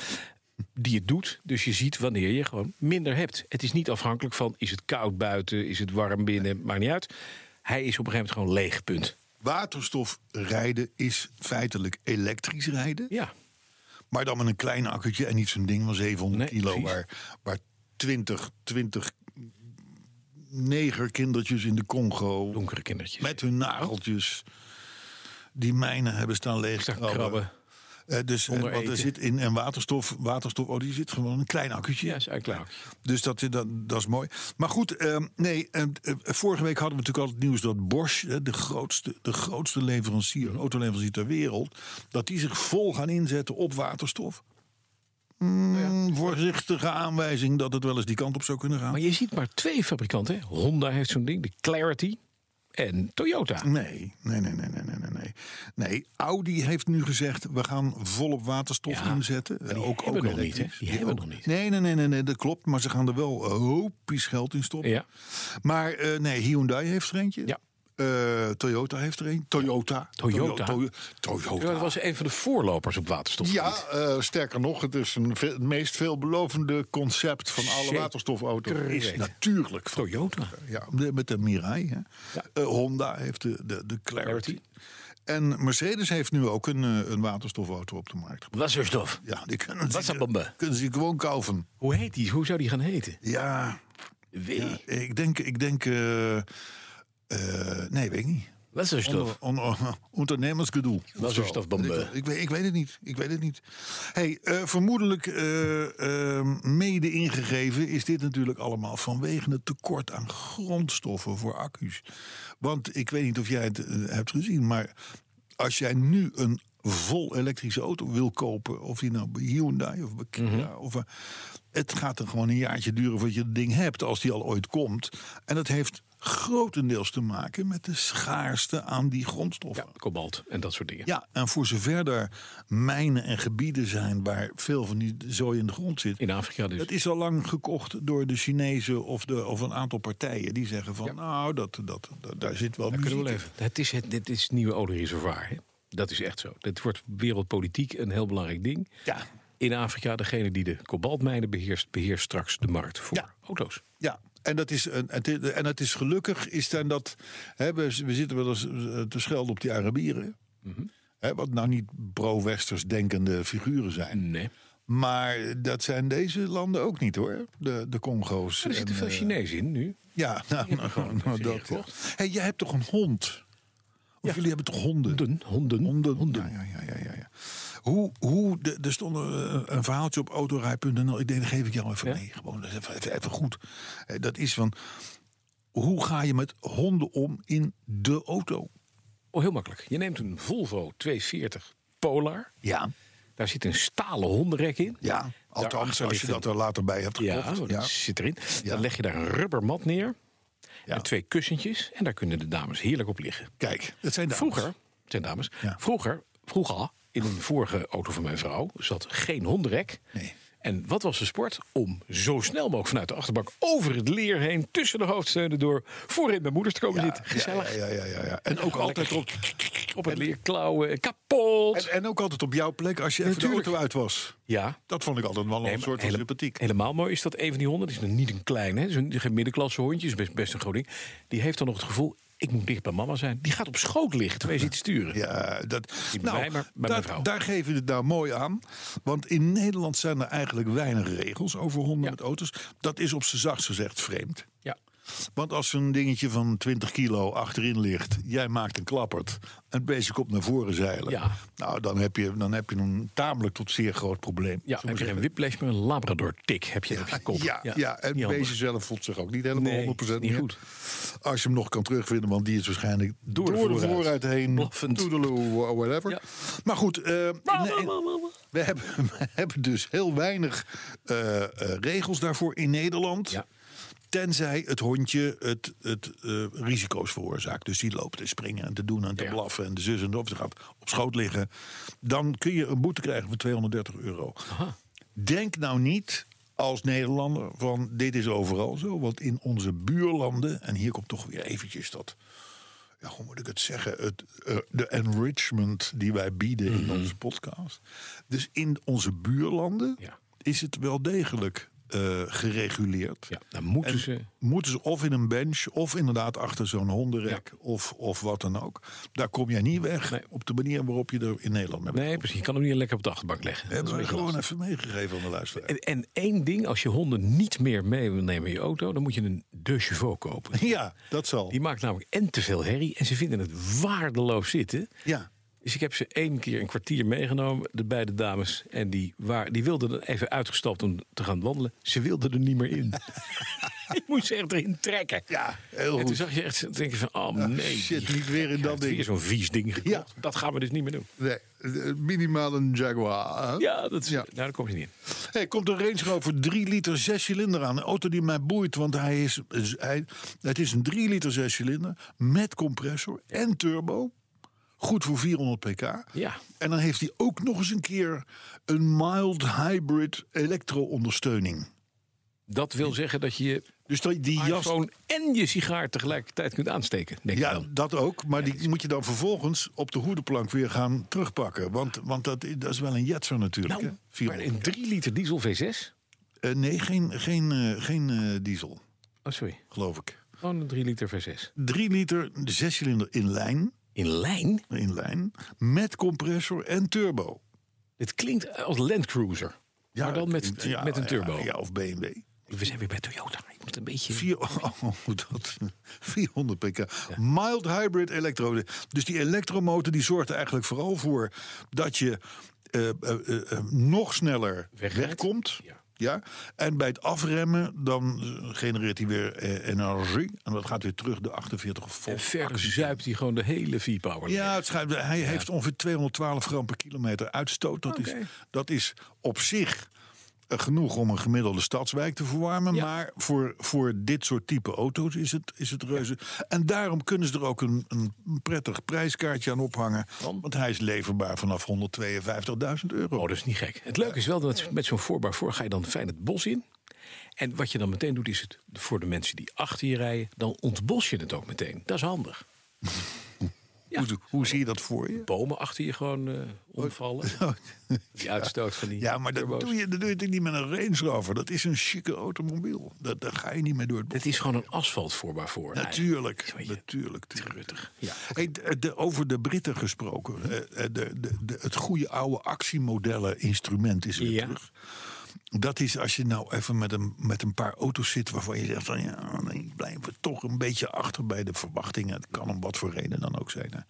Die het doet, dus je ziet wanneer je gewoon minder hebt. Het is niet afhankelijk van, is het koud buiten, is het warm binnen, maakt niet uit. Hij is op een gegeven moment gewoon leeg, punt. Waterstof rijden is feitelijk elektrisch rijden. Ja, Maar dan met een klein akkertje en niet zo'n ding van 700 Nee, kilo. precies. Waar, waar 20, 20 negerkindertjes in de Congo. donkere kindertjes. Met hun nageltjes. Die mijnen hebben staan Staan leegkrabben. krabben. Eh, dus, eh, Zonder want er eten. zit in en waterstof, waterstof, oh, die zit gewoon een klein akkertje. Ja, is eigenlijk leuk. Dus dat, dat, dat is mooi. Maar goed, ehm, nee, ehm, eh, vorige week hadden we natuurlijk al het nieuws dat Bosch, hè, de grootste, de grootste leverancier, Mhm. autoleverancier ter wereld, dat die zich vol gaan inzetten op waterstof. Oh Mm, Voorzichtige aanwijzing dat het wel eens die kant op zou kunnen gaan. Maar je ziet maar twee fabrikanten. hè. Honda heeft zo'n ding, de Clarity en Toyota. Nee, nee, nee, nee, nee, nee, nee, nee. Nee, Audi heeft nu gezegd, we gaan volop waterstof Ja, inzetten. maar die ook, hebben ook nog niet, hè? elektrisch. Die hebben ook- nog niet. Nee, nee, nee, nee, nee, dat klopt. Maar ze gaan er wel hopisch geld in stoppen. Ja. Maar eh, nee, Hyundai heeft er eentje. Ja. Eh, Toyota heeft er een. Toyota. Toyota? Toyo- Toyo- Toyota. Ja, dat was een van de voorlopers op waterstof. Ja, eh, sterker nog, het is een ve- het meest veelbelovende concept van alle Zeker. waterstofauto's. Is Correct. natuurlijk van Toyota. ja, de- met de Mirai. Hè. Eh, Honda heeft de, de, de Clarity. En Mercedes heeft nu ook een, eh, een waterstofauto op de markt gebracht. Wasserstof. Ja, die kunnen ze, Wasserbombe. kunnen ze gewoon kaufen. Hoe heet die? Hoe zou die gaan heten? Ja, Wee. ik denk... Ik denk eh, eh, nee, weet ik niet. Wasserstof. On, on, [laughs] ondernemersgedoe. Dat is Zo. een stofbombe. Ik, ik, weet- ik weet het niet. Ik weet het niet. Hey, eh, vermoedelijk eh, eh, mede ingegeven is dit natuurlijk allemaal vanwege het tekort aan grondstoffen voor accu's. Want ik weet niet of jij het eh, hebt gezien, maar als jij nu een vol elektrische auto wil kopen, of die nou bij Hyundai of bij Kia, of, eh, het gaat er gewoon een jaartje duren voordat je het ding hebt, als die al ooit komt. En dat heeft grotendeels te maken met de schaarste aan die grondstoffen. Ja, kobalt en dat soort dingen. Ja, en voor zover er mijnen en gebieden zijn waar veel van die zooi in de grond zit. In Afrika dus. Dat is al lang gekocht door de Chinezen of, de, of een aantal partijen. Die zeggen van, nou, dat, dat, dat- daar zit wel Daar muziek kunnen we in. leven. Het is het, dit is het nieuwe oliereservoir. Hè? Dat is echt zo. Dit wordt wereldpolitiek een heel belangrijk ding. Ja. In Afrika, degene die de kobaltmijnen beheerst, beheerst straks de markt voor Ja. auto's. Ja, en dat is, een, het is- en het is gelukkig is dan dat. Hè, we, we zitten wel eens eh, te schelden op die Arabieren. Mhm. Hè, wat nou niet pro-westers denkende figuren zijn. Nee. Maar dat zijn deze landen ook niet hoor. De, de Congo's. er zitten en, veel eh, Chinezen in nu. Ja, nou, nou, nou, dat is dat. ingekocht. Hey, jij hebt toch een hond? Of jullie hebben toch honden? Honden. Honden. Honden. Ja, ja, ja, ja, ja. Hoe, hoe, de- er stond eh, een verhaaltje op autorij.nl. Ik denk, dat geef ik jou even Ja? mee. Gewoon dat is even, even, even goed. Eh, Dat is van, hoe ga je met honden om in de auto? Oh, heel makkelijk. Je neemt een Volvo 240 Polar. Ja. Daar zit een stalen hondenrek in. Ja, althans Daarachter als ligt je een- dat er later bij hebt Ja, oh, gekocht. dat zit erin. Ja. Dan leg je daar een rubbermat neer. Ja. En twee kussentjes. En daar kunnen de dames heerlijk op liggen. Kijk, dat zijn dames. Vroeger, het zijn dames, Ja. vroeger, vroeger, in een vorige auto van mijn vrouw zat geen hondenrek. Nee. En wat was de sport? Om zo snel mogelijk vanuit de achterbank over het leer heen, tussen de hoofdsteunen door, voorin bij moeders te komen zitten. Gezellig. Ja, ja, ja, ja, ja. En ook Gewoon altijd op, lekker Op het leer klauwen, kapot. en, en ook altijd op jouw plek als je even Natuurlijk. de auto uit was. ja. Dat vond ik altijd wel Nee, een maar soort van hele- sympathiek. Helemaal mooi is dat een van die honden. Dat is nog niet een kleine, hè, zo'n geen middenklasse hondje, is best, best een groot ding. Die heeft dan nog het gevoel, ik moet dicht bij mama zijn. Die gaat op schoot liggen terwijl je zit te sturen. Ja, dat, Niet bij nou, mij, maar bij dat- mijn vrouw. daar geef je het nou mooi aan. Want in Nederland zijn er eigenlijk weinig regels over honden Ja. met auto's. Dat is op zijn zachtst gezegd vreemd. ja. Want als een dingetje van 20 kilo achterin ligt, jij maakt een klappert... en het beestje komt naar voren zeilen... Ja. Nou, dan heb, je, dan heb je een tamelijk tot zeer groot probleem. Ja, zullen we heb je zeggen. geen whiplash, maar een labrador-tik heb je op je kop. Ja, ja, en niet het handig. beestje zelf voelt zich ook niet helemaal Nee, 100% niet meer. goed. Als je hem nog kan terugvinden, want die is waarschijnlijk door, de de voorruit. vooruit heen. Blaffend. Toedeloe, wha- whatever. Ja. Maar goed, eh, nee, we, hebben, [laughs] we hebben dus heel weinig eh, eh, regels daarvoor in Nederland. Ja. Tenzij het hondje het, het eh, risico's veroorzaakt. Dus die loopt te springen en te doen en te Ja. blaffen en de zus en de of ze gaat op schoot liggen. Dan kun je een boete krijgen van 230 euro. Denk nou niet als Nederlander van dit is overal zo. Want in onze buurlanden, en hier komt toch weer eventjes dat... Ja, hoe moet ik het zeggen? Het, eh, de enrichment die wij bieden Mhm. in onze podcast. Dus in onze buurlanden Ja. is het wel degelijk eh, gereguleerd. Ja, dan moeten En ze... moeten ze of in een bench, of inderdaad achter zo'n hondenrek, of, of wat dan ook. Daar kom jij niet weg Nee. op de manier waarop je er in Nederland mee bent. Nee, precies. Je kan hem niet lekker op de achterbank leggen. Dat is Hebben een we beetje gewoon lastig. even meegegeven aan de luisteraar. En, en één ding, als je honden niet meer mee wil nemen in je auto... dan moet je een De Chauveau kopen. Ja, dat zal. Die maakt namelijk en te veel herrie... en ze vinden het waardeloos zitten. Ja. Dus ik heb ze één keer een kwartier meegenomen, de beide dames. En die, waar, die wilden er even uitgestapt om te gaan wandelen. Ze wilden er niet meer in. [laughs] ik moest ze echt erin trekken. Ja, heel En goed. Ah, toen zag je echt denken van, oh nee. shit, die niet weer in dat gekheid. ding. Weer zo'n vies ding gekocht. Ja. Dat gaan we dus niet meer doen. Nee, eh, minimaal een Jaguar. hè? Ja, dat is, Ja. Nou, daar kom je niet in. Hey, komt een Range Rover 3 liter 6 cilinder aan. Een auto die mij boeit, want hij is, is- hij, het is een 3 liter 6 cilinder met compressor en turbo. Goed voor 400 pk. Ja. En dan heeft hij ook nog eens een keer een mild hybrid elektro-ondersteuning. Dat wil zeggen dat je je Dus die, die jas. iPhone en je sigaar tegelijkertijd kunt aansteken, denk ik Ja, dan. dat ook. Maar die moet je dan vervolgens op de hoedenplank weer gaan terugpakken. Want, want dat, i- dat is wel een jetser natuurlijk. Nou, hè? maar 400. een 3 liter diesel V6? Eh, nee, geen, geen, eh, geen eh, diesel, Oh, sorry. geloof ik. Gewoon een 3 liter V6. 3 liter, de zescilinder in lijn, In lijn? in lijn. Met compressor en turbo. Het klinkt eh, als Land Cruiser. Ja, maar dan met, ja, met een turbo. Ja, ja, of BMW. We zijn weer bij Toyota. Je moet een beetje... Vier, [laughs] oh, dat, 400 pk. Mild hybrid elektrode. Dus die elektromotor die zorgt er eigenlijk vooral voor dat je eh, eh, eh, eh, nog sneller Wegrijdt. wegkomt. Ja. Ja. En bij het afremmen dan eh, genereert hij weer eh, energie. En dat gaat weer terug de 48 En volt. verder eh, zuipt hij gewoon de hele V-Power. Ja, het schijnt- hij heeft ongeveer 212 gram per kilometer uitstoot. Dat, Oké. is, dat is op zich eh, genoeg om een gemiddelde stadswijk te verwarmen. Ja. Maar voor, voor dit soort type auto's is het, is het reuze. En daarom kunnen ze er ook een, een prettig prijskaartje aan ophangen. Want hij is leverbaar vanaf 152.000 euro. Oh, dat is niet gek. Het leuke is wel dat met zo'n voorbaar voor ga je dan fijn het bos in. En wat je dan meteen doet, is het voor de mensen die achter je rijden, dan ontbos je het ook meteen. Dat is handig. ja. Hoe, hoe zie je dat voor je? Bomen achter je gewoon eh, [laughs] omvallen. Die uitstoot van die. Oh, Ja, maar dat turbo's. doe, je, dat doe je natuurlijk niet met een Range Rover. Dat is een chique automobiel. Dat- Daar ga je niet mee door het bos. Het is gewoon een asfalt voorbaar voor. Natuurlijk, Eigenlijk. Weet je, natuurlijk. Truttig. Ja. Hey, de- de- over de Britten gesproken. eh, eh, de, de, de- het goede oude actiemodellen-instrument is weer Ja. terug. Dat is als je nou even met een, met een paar auto's zit waarvan je zegt van ja, dan blijven we toch een beetje achter bij de verwachtingen. Het kan om wat voor reden dan ook zijn. Hè.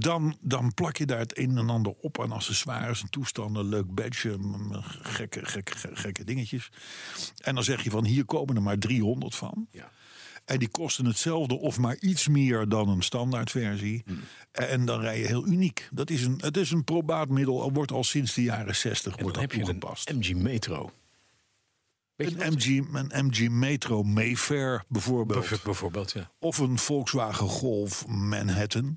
Dan, dan plak je daar het een en ander op aan accessoires en toestanden, leuk badge, m- m- gekke, gekke, gekke dingetjes. En dan zeg je van hier komen er maar 300 van. Ja. En die kosten hetzelfde of maar iets meer dan een standaardversie. Hmm. En dan rij je heel uniek. Dat is een, het is een probaat middel. al Wordt al sinds de jaren 60 En wordt dan dat heb je toegepast. een MG Metro. Weet je Een wat? MG, een MG Metro Mayfair bijvoorbeeld. Bijv- Bijvoorbeeld, ja. Of een Volkswagen Golf Manhattan.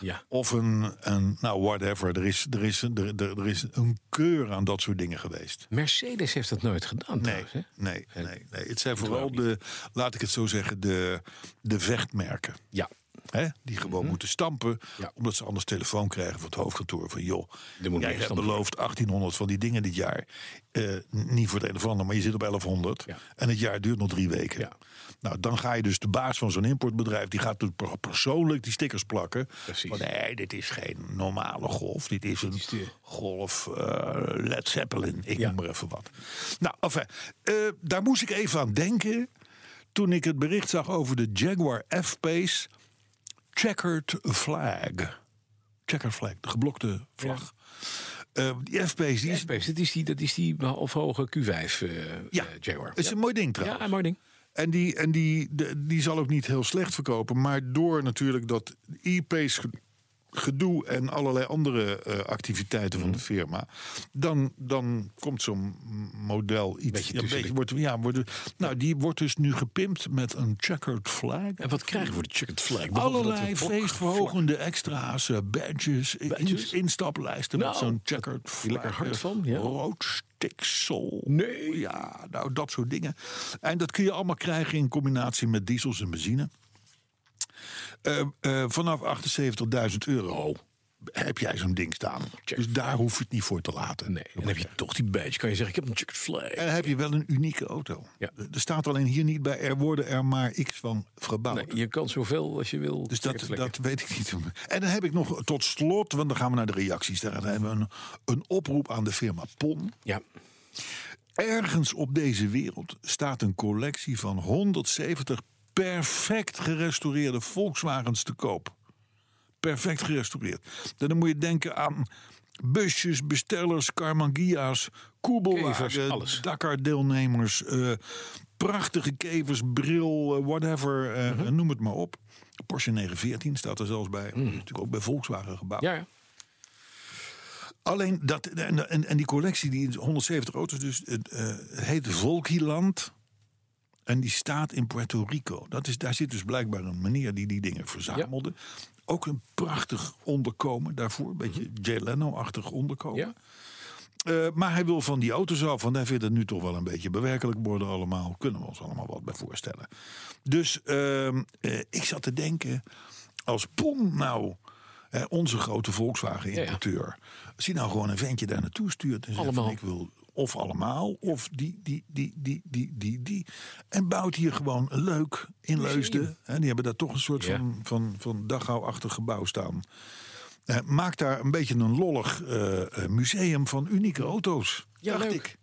ja. Of een, een nou whatever. Er is, er, is, er, er, er is een keur aan dat soort dingen geweest. Mercedes heeft dat nooit gedaan, Nee, trouwens. Hè? nee, nee, nee. Het zijn ook vooral niet. de, laat ik het zo zeggen, de, de vechtmerken. Ja. Hè, die gewoon moeten stampen. Mhm. Ja. Omdat ze anders telefoon krijgen van het hoofdkantoor. Van joh, Er moet jij meer hebt stampen. beloofd 1800 van die dingen dit jaar. Eh, niet voor het een of ander, maar je zit op 1100. Ja. En het jaar duurt nog drie weken. Ja. Nou, dan ga je dus de baas van zo'n importbedrijf... die gaat dus per- persoonlijk die stickers plakken. Precies. Van, nee, dit is geen normale golf. Dit is een is de- golf eh, Led Zeppelin. Ik Ja. noem maar even wat. Nou, enfin, eh, daar moest ik even aan denken toen ik het bericht zag over de Jaguar F-Pace Checkered Flag. Checkered Flag, de geblokte vlag. Eh, die F-Pace die is, Space, dat is die, dat is die halfhoge Q5 eh Ja. eh, Jaguar. is een mooi ding ja, trouwens. ja, mooi ding. En, die, en die, de- die zal ook niet heel slecht verkopen. Maar door natuurlijk dat e-pace ge- gedoe en allerlei andere eh, activiteiten van de Mhm. firma... dan, dan komt zo'n model iets... Beetje ja, een tussen beetje, de- wordt, ja, wordt, nou, die wordt dus nu gepimpt met een checkered flag. En wat krijgen we voor de chicken flag? Behalve dat Allerlei we bok- feestverhogende extra's, eh, badges, in- Badges? instaplijsten Nou, met zo'n checkered flag. lekker hard eh, van, ja. Rood stiksel. Nee. Ja, nou dat soort dingen. En dat kun je allemaal krijgen in combinatie met diesels en benzine. Eh, eh, vanaf 78.000 euro Oh. heb jij zo'n ding staan. Dus daar hoef je het niet voor te laten. Nee, dan heb je toch die badge. Kan je zeggen, ik heb een chicken flag. En dan heb je wel een unieke auto. Ja. Er staat alleen hier niet bij, er worden er maar x van verbouwd. Nee, je kan zoveel als je wil. Dus dat, chicken flag. dat weet ik niet. En dan heb ik nog tot slot, want dan gaan we naar de reacties. Daar hebben we een, een oproep aan de firma PON. Ja, Ergens op deze wereld staat een collectie van 170 perfect gerestaureerde Volkswagens te koop. Perfect gerestaureerd. En dan moet je denken aan busjes, bestellers, Carmangia's, Kevers, Koebelwagens, alles. Dakar-deelnemers, eh, prachtige kevers, bril, eh, whatever, eh, Mhm. noem het maar op. Porsche 914 staat er zelfs bij. Natuurlijk ook bij Volkswagen gebouwd. Mm. ja, ja. Alleen dat, en, en, en die collectie, die 170 auto's, dus, het eh, heet Volkiland. En die staat in Puerto Rico. Dat is, daar zit dus blijkbaar een meneer die die dingen verzamelde. Oh. Ook een prachtig onderkomen daarvoor. Een beetje Jay Leno-achtig onderkomen. Ja. Eh, maar hij wil van die auto's af, want hij vindt het nu toch wel een beetje bewerkelijk worden allemaal. Kunnen we ons allemaal wat bij voorstellen. Dus ehm, eh, ik zat te denken, als Pom nou, hè, onze grote Volkswagen-importeur, als hij nou gewoon een ventje daar naartoe stuurt en zegt Allemaal. van ik wil of allemaal, of die, die, die, die, die, die, die. En bouwt hier gewoon een leuk in Leusden. Hè, die hebben daar toch een soort Ja. van, van, van Dachau-achtig gebouw staan. Eh, maak daar een beetje een lollig eh, eh, museum van unieke auto's. Ja, dacht leuk. ik.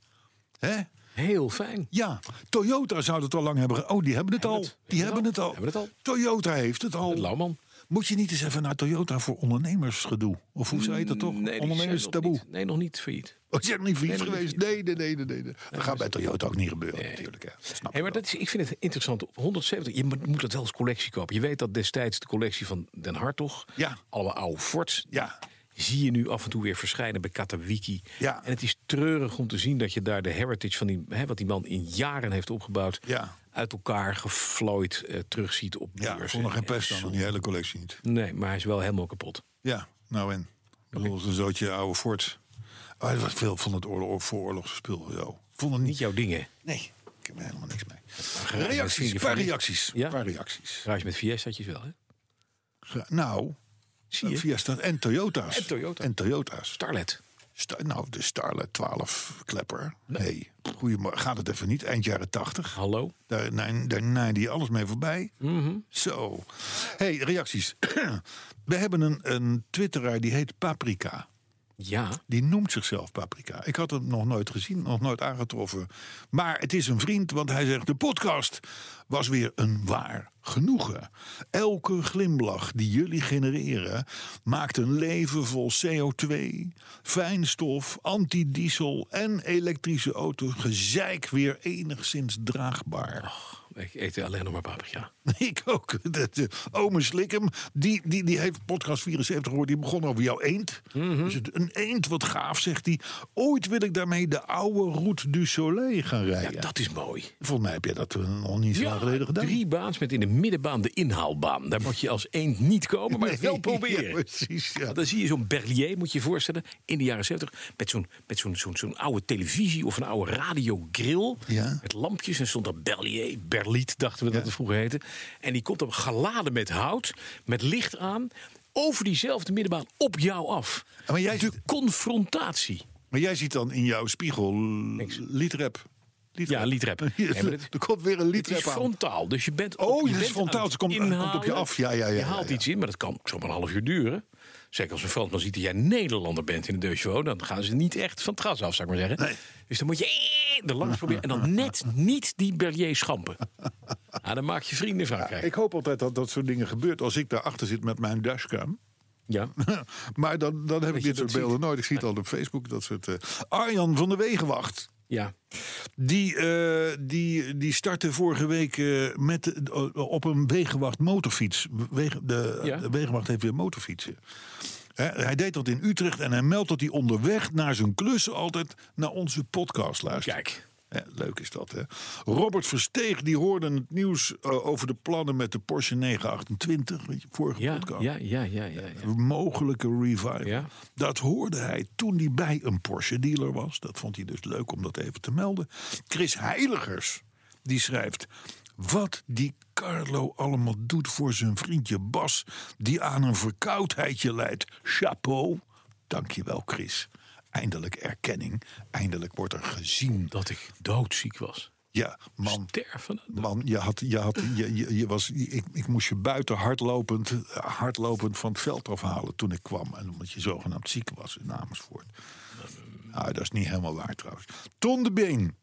Hè? Heel fijn. Ja, Toyota zou het al lang hebben. ge- Oh, die hebben het al. het. die hebben het al. Hebben het al. Toyota heeft het al. Lauwman. Moet je niet eens even naar Toyota voor ondernemersgedoe? Of hoe zei je dat toch? Mm, Nee, die zijn nog Ondernemerstaboe. niet- Nee, nog niet failliet. Oh, zijn niet vriend Nee, nog geweest? niet. Nee, nee, nee, nee, nee. nee. Dat gaat bij Toyota ook niet gebeuren natuurlijk. Hè. Snap Hey, je maar dat is, ik vind het interessant. Op 170, je moet moet dat wel als collectie kopen. Je weet dat destijds de collectie van Den Hartog, Ja. alle oude Forts, wel. Ja, zie je nu af en toe weer verschijnen bij Katawiki. Ja. En het is treurig om te zien dat je daar de heritage van die, hè, wat die man in jaren heeft opgebouwd, Ja. uit elkaar gevlooid eh, terugziet op ja ik beurzen. vond er geen En pest aan. zo. aan Die hele collectie niet. Nee, maar hij is wel helemaal kapot. Ja, nou en. Ik bedoel, het is een zootje oude Ford. Oh, dat was veel van het oorlog, vooroorlogsspul. Yo. Vond het Niet niet. jouw dingen. Nee, ik heb er helemaal niks mee. vind Reacties, je qua van niet? reacties. Ja? Qua reacties. Garage met Fiesta'tjes wel, hè? Gra- Nou, Zie je? Fiesta en Toyota's. En Toyota. En Toyota's. Starlet. Sta- nou, de Starlet 12 klepper. Nee, goeiemorgen. Gaat het even niet. Eind jaren 80. Hallo? Daar, nee, daar naaide je alles mee voorbij. Zo. hey, reacties. [clears throat] We hebben een, een twitteraar die heet Paprika. Ja. Die noemt zichzelf Paprika. Ik had hem nog nooit gezien, nog nooit aangetroffen. Maar het is een vriend, want hij zegt... de podcast was weer een waar genoegen. Elke glimlach die jullie genereren... maakt een leven vol CO2, fijnstof, antidiesel... en elektrische auto's gezeik weer enigszins draagbaar. Ik eet alleen nog maar paprika. [laughs] Ik ook. Dat, eh, Ome Slikkem, die, die, die heeft podcast 74 gehoord. Die begon over jouw eend. Mhm. Dus het, een eend, wat gaaf, zegt hij. Ooit wil ik daarmee de oude Route du Soleil gaan Ja, rijden. dat is mooi. Volgens mij heb je dat eh, nog niet zo lang geleden gedaan. [laughs] drie baans met in de middenbaan de inhaalbaan. Daar moet je als eend niet komen, maar het wel [laughs] Nee, proberen. ja, precies, ja. Want dan zie je zo'n Berlier, moet je je voorstellen, in de jaren 70... met zo'n met zo'n zo'n zo'n oude televisie of een oude radiogril... Ja. met lampjes en stond daar Berlier, Berliet dachten we dat het vroeger heette. En die komt dan geladen met hout, met licht aan... over diezelfde middenbaan op jou af. Dus Maar jij, De confrontatie. maar jij ziet dan in jouw spiegel liedrap. Ja, [laughs] liedrap. Nee, maar dit- er komt weer een Het is liedrap aan. frontaal, dus je bent. Oh, je dit is bent aan frontaal, het het komt- het komt op je inhalen. af. Ja, ja, ja, Je ja, haalt ja. iets in, maar dat kan zomaar een half uur duren. Zeker als een Fransman ziet dat jij Nederlander bent in de Deutsche dan gaan ze niet echt van het gas af, zou ik maar zeggen. Nee. Dus dan moet je er langs proberen en [laughs] dan net niet die Berlier schampen. Ah, dan maak je vrienden in Frankrijk. Ik hoop altijd dat dat soort dingen gebeurt als ik daarachter zit met mijn dashcam. Ja. [laughs] maar dan, dan heb ik je dit soort dat beelden nooit. Ik zie het al op Facebook. Dat soort, eh. Arjan van de Wegenwacht. ja. Die, eh, die, die startte vorige week eh, met, de- op een Wegenwacht motorfiets. Wegen- de, Ja. de Wegenwacht heeft weer motorfietsen. Hè, hij deed dat in Utrecht en hij meldt dat hij onderweg naar zijn klus altijd naar onze podcast luistert. Kijk. Hè, leuk is dat, hè? Robert Versteeg die hoorde het nieuws eh, over de plannen met de Porsche 928. Weet je, vorige Ja, podcast ja, ja, ja, ja, ja. mogelijke revival. Ja. Dat hoorde hij toen hij bij een Porsche dealer was. Dat vond hij dus leuk om dat even te melden. Chris Heiligers, die schrijft... Wat die Carlo allemaal doet voor zijn vriendje Bas... die aan een verkoudheidje leidt. Chapeau. Dankjewel, Chris. Eindelijk erkenning. Eindelijk wordt er gezien. Dat ik doodziek was. Ja, man. Sterven. Man, je, had, je, had, je, je, je was, ik, ik moest je buiten hardlopend, eh, hardlopend van het veld afhalen toen ik kwam. En omdat je zogenaamd ziek was in Amersfoort. Ah, dat is niet helemaal waar trouwens. Ton de Been,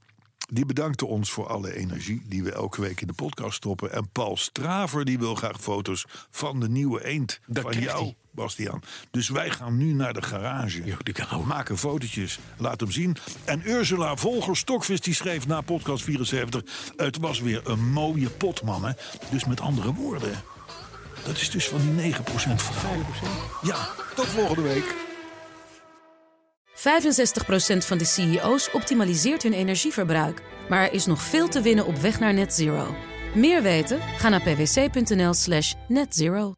die bedankte ons voor alle energie die we elke week in de podcast stoppen. En Paul Straver, die wil graag foto's van de nieuwe eend. Dat van krijgt jou, hij. Bastiaan. Dus wij gaan nu naar de garage. Jo, die kou. Maken fotootjes, laat hem zien. En Ursula Volger Stokvis die schreef na podcast 74... het was weer een mooie pot, mannen. Dus met andere woorden... dat is dus van die 9% verhaal. Ja, tot volgende week. 65% van de CEO's optimaliseert hun energieverbruik, maar er is nog veel te winnen op weg naar net zero. Meer weten? Ga naar pwc.nl/slash netzero.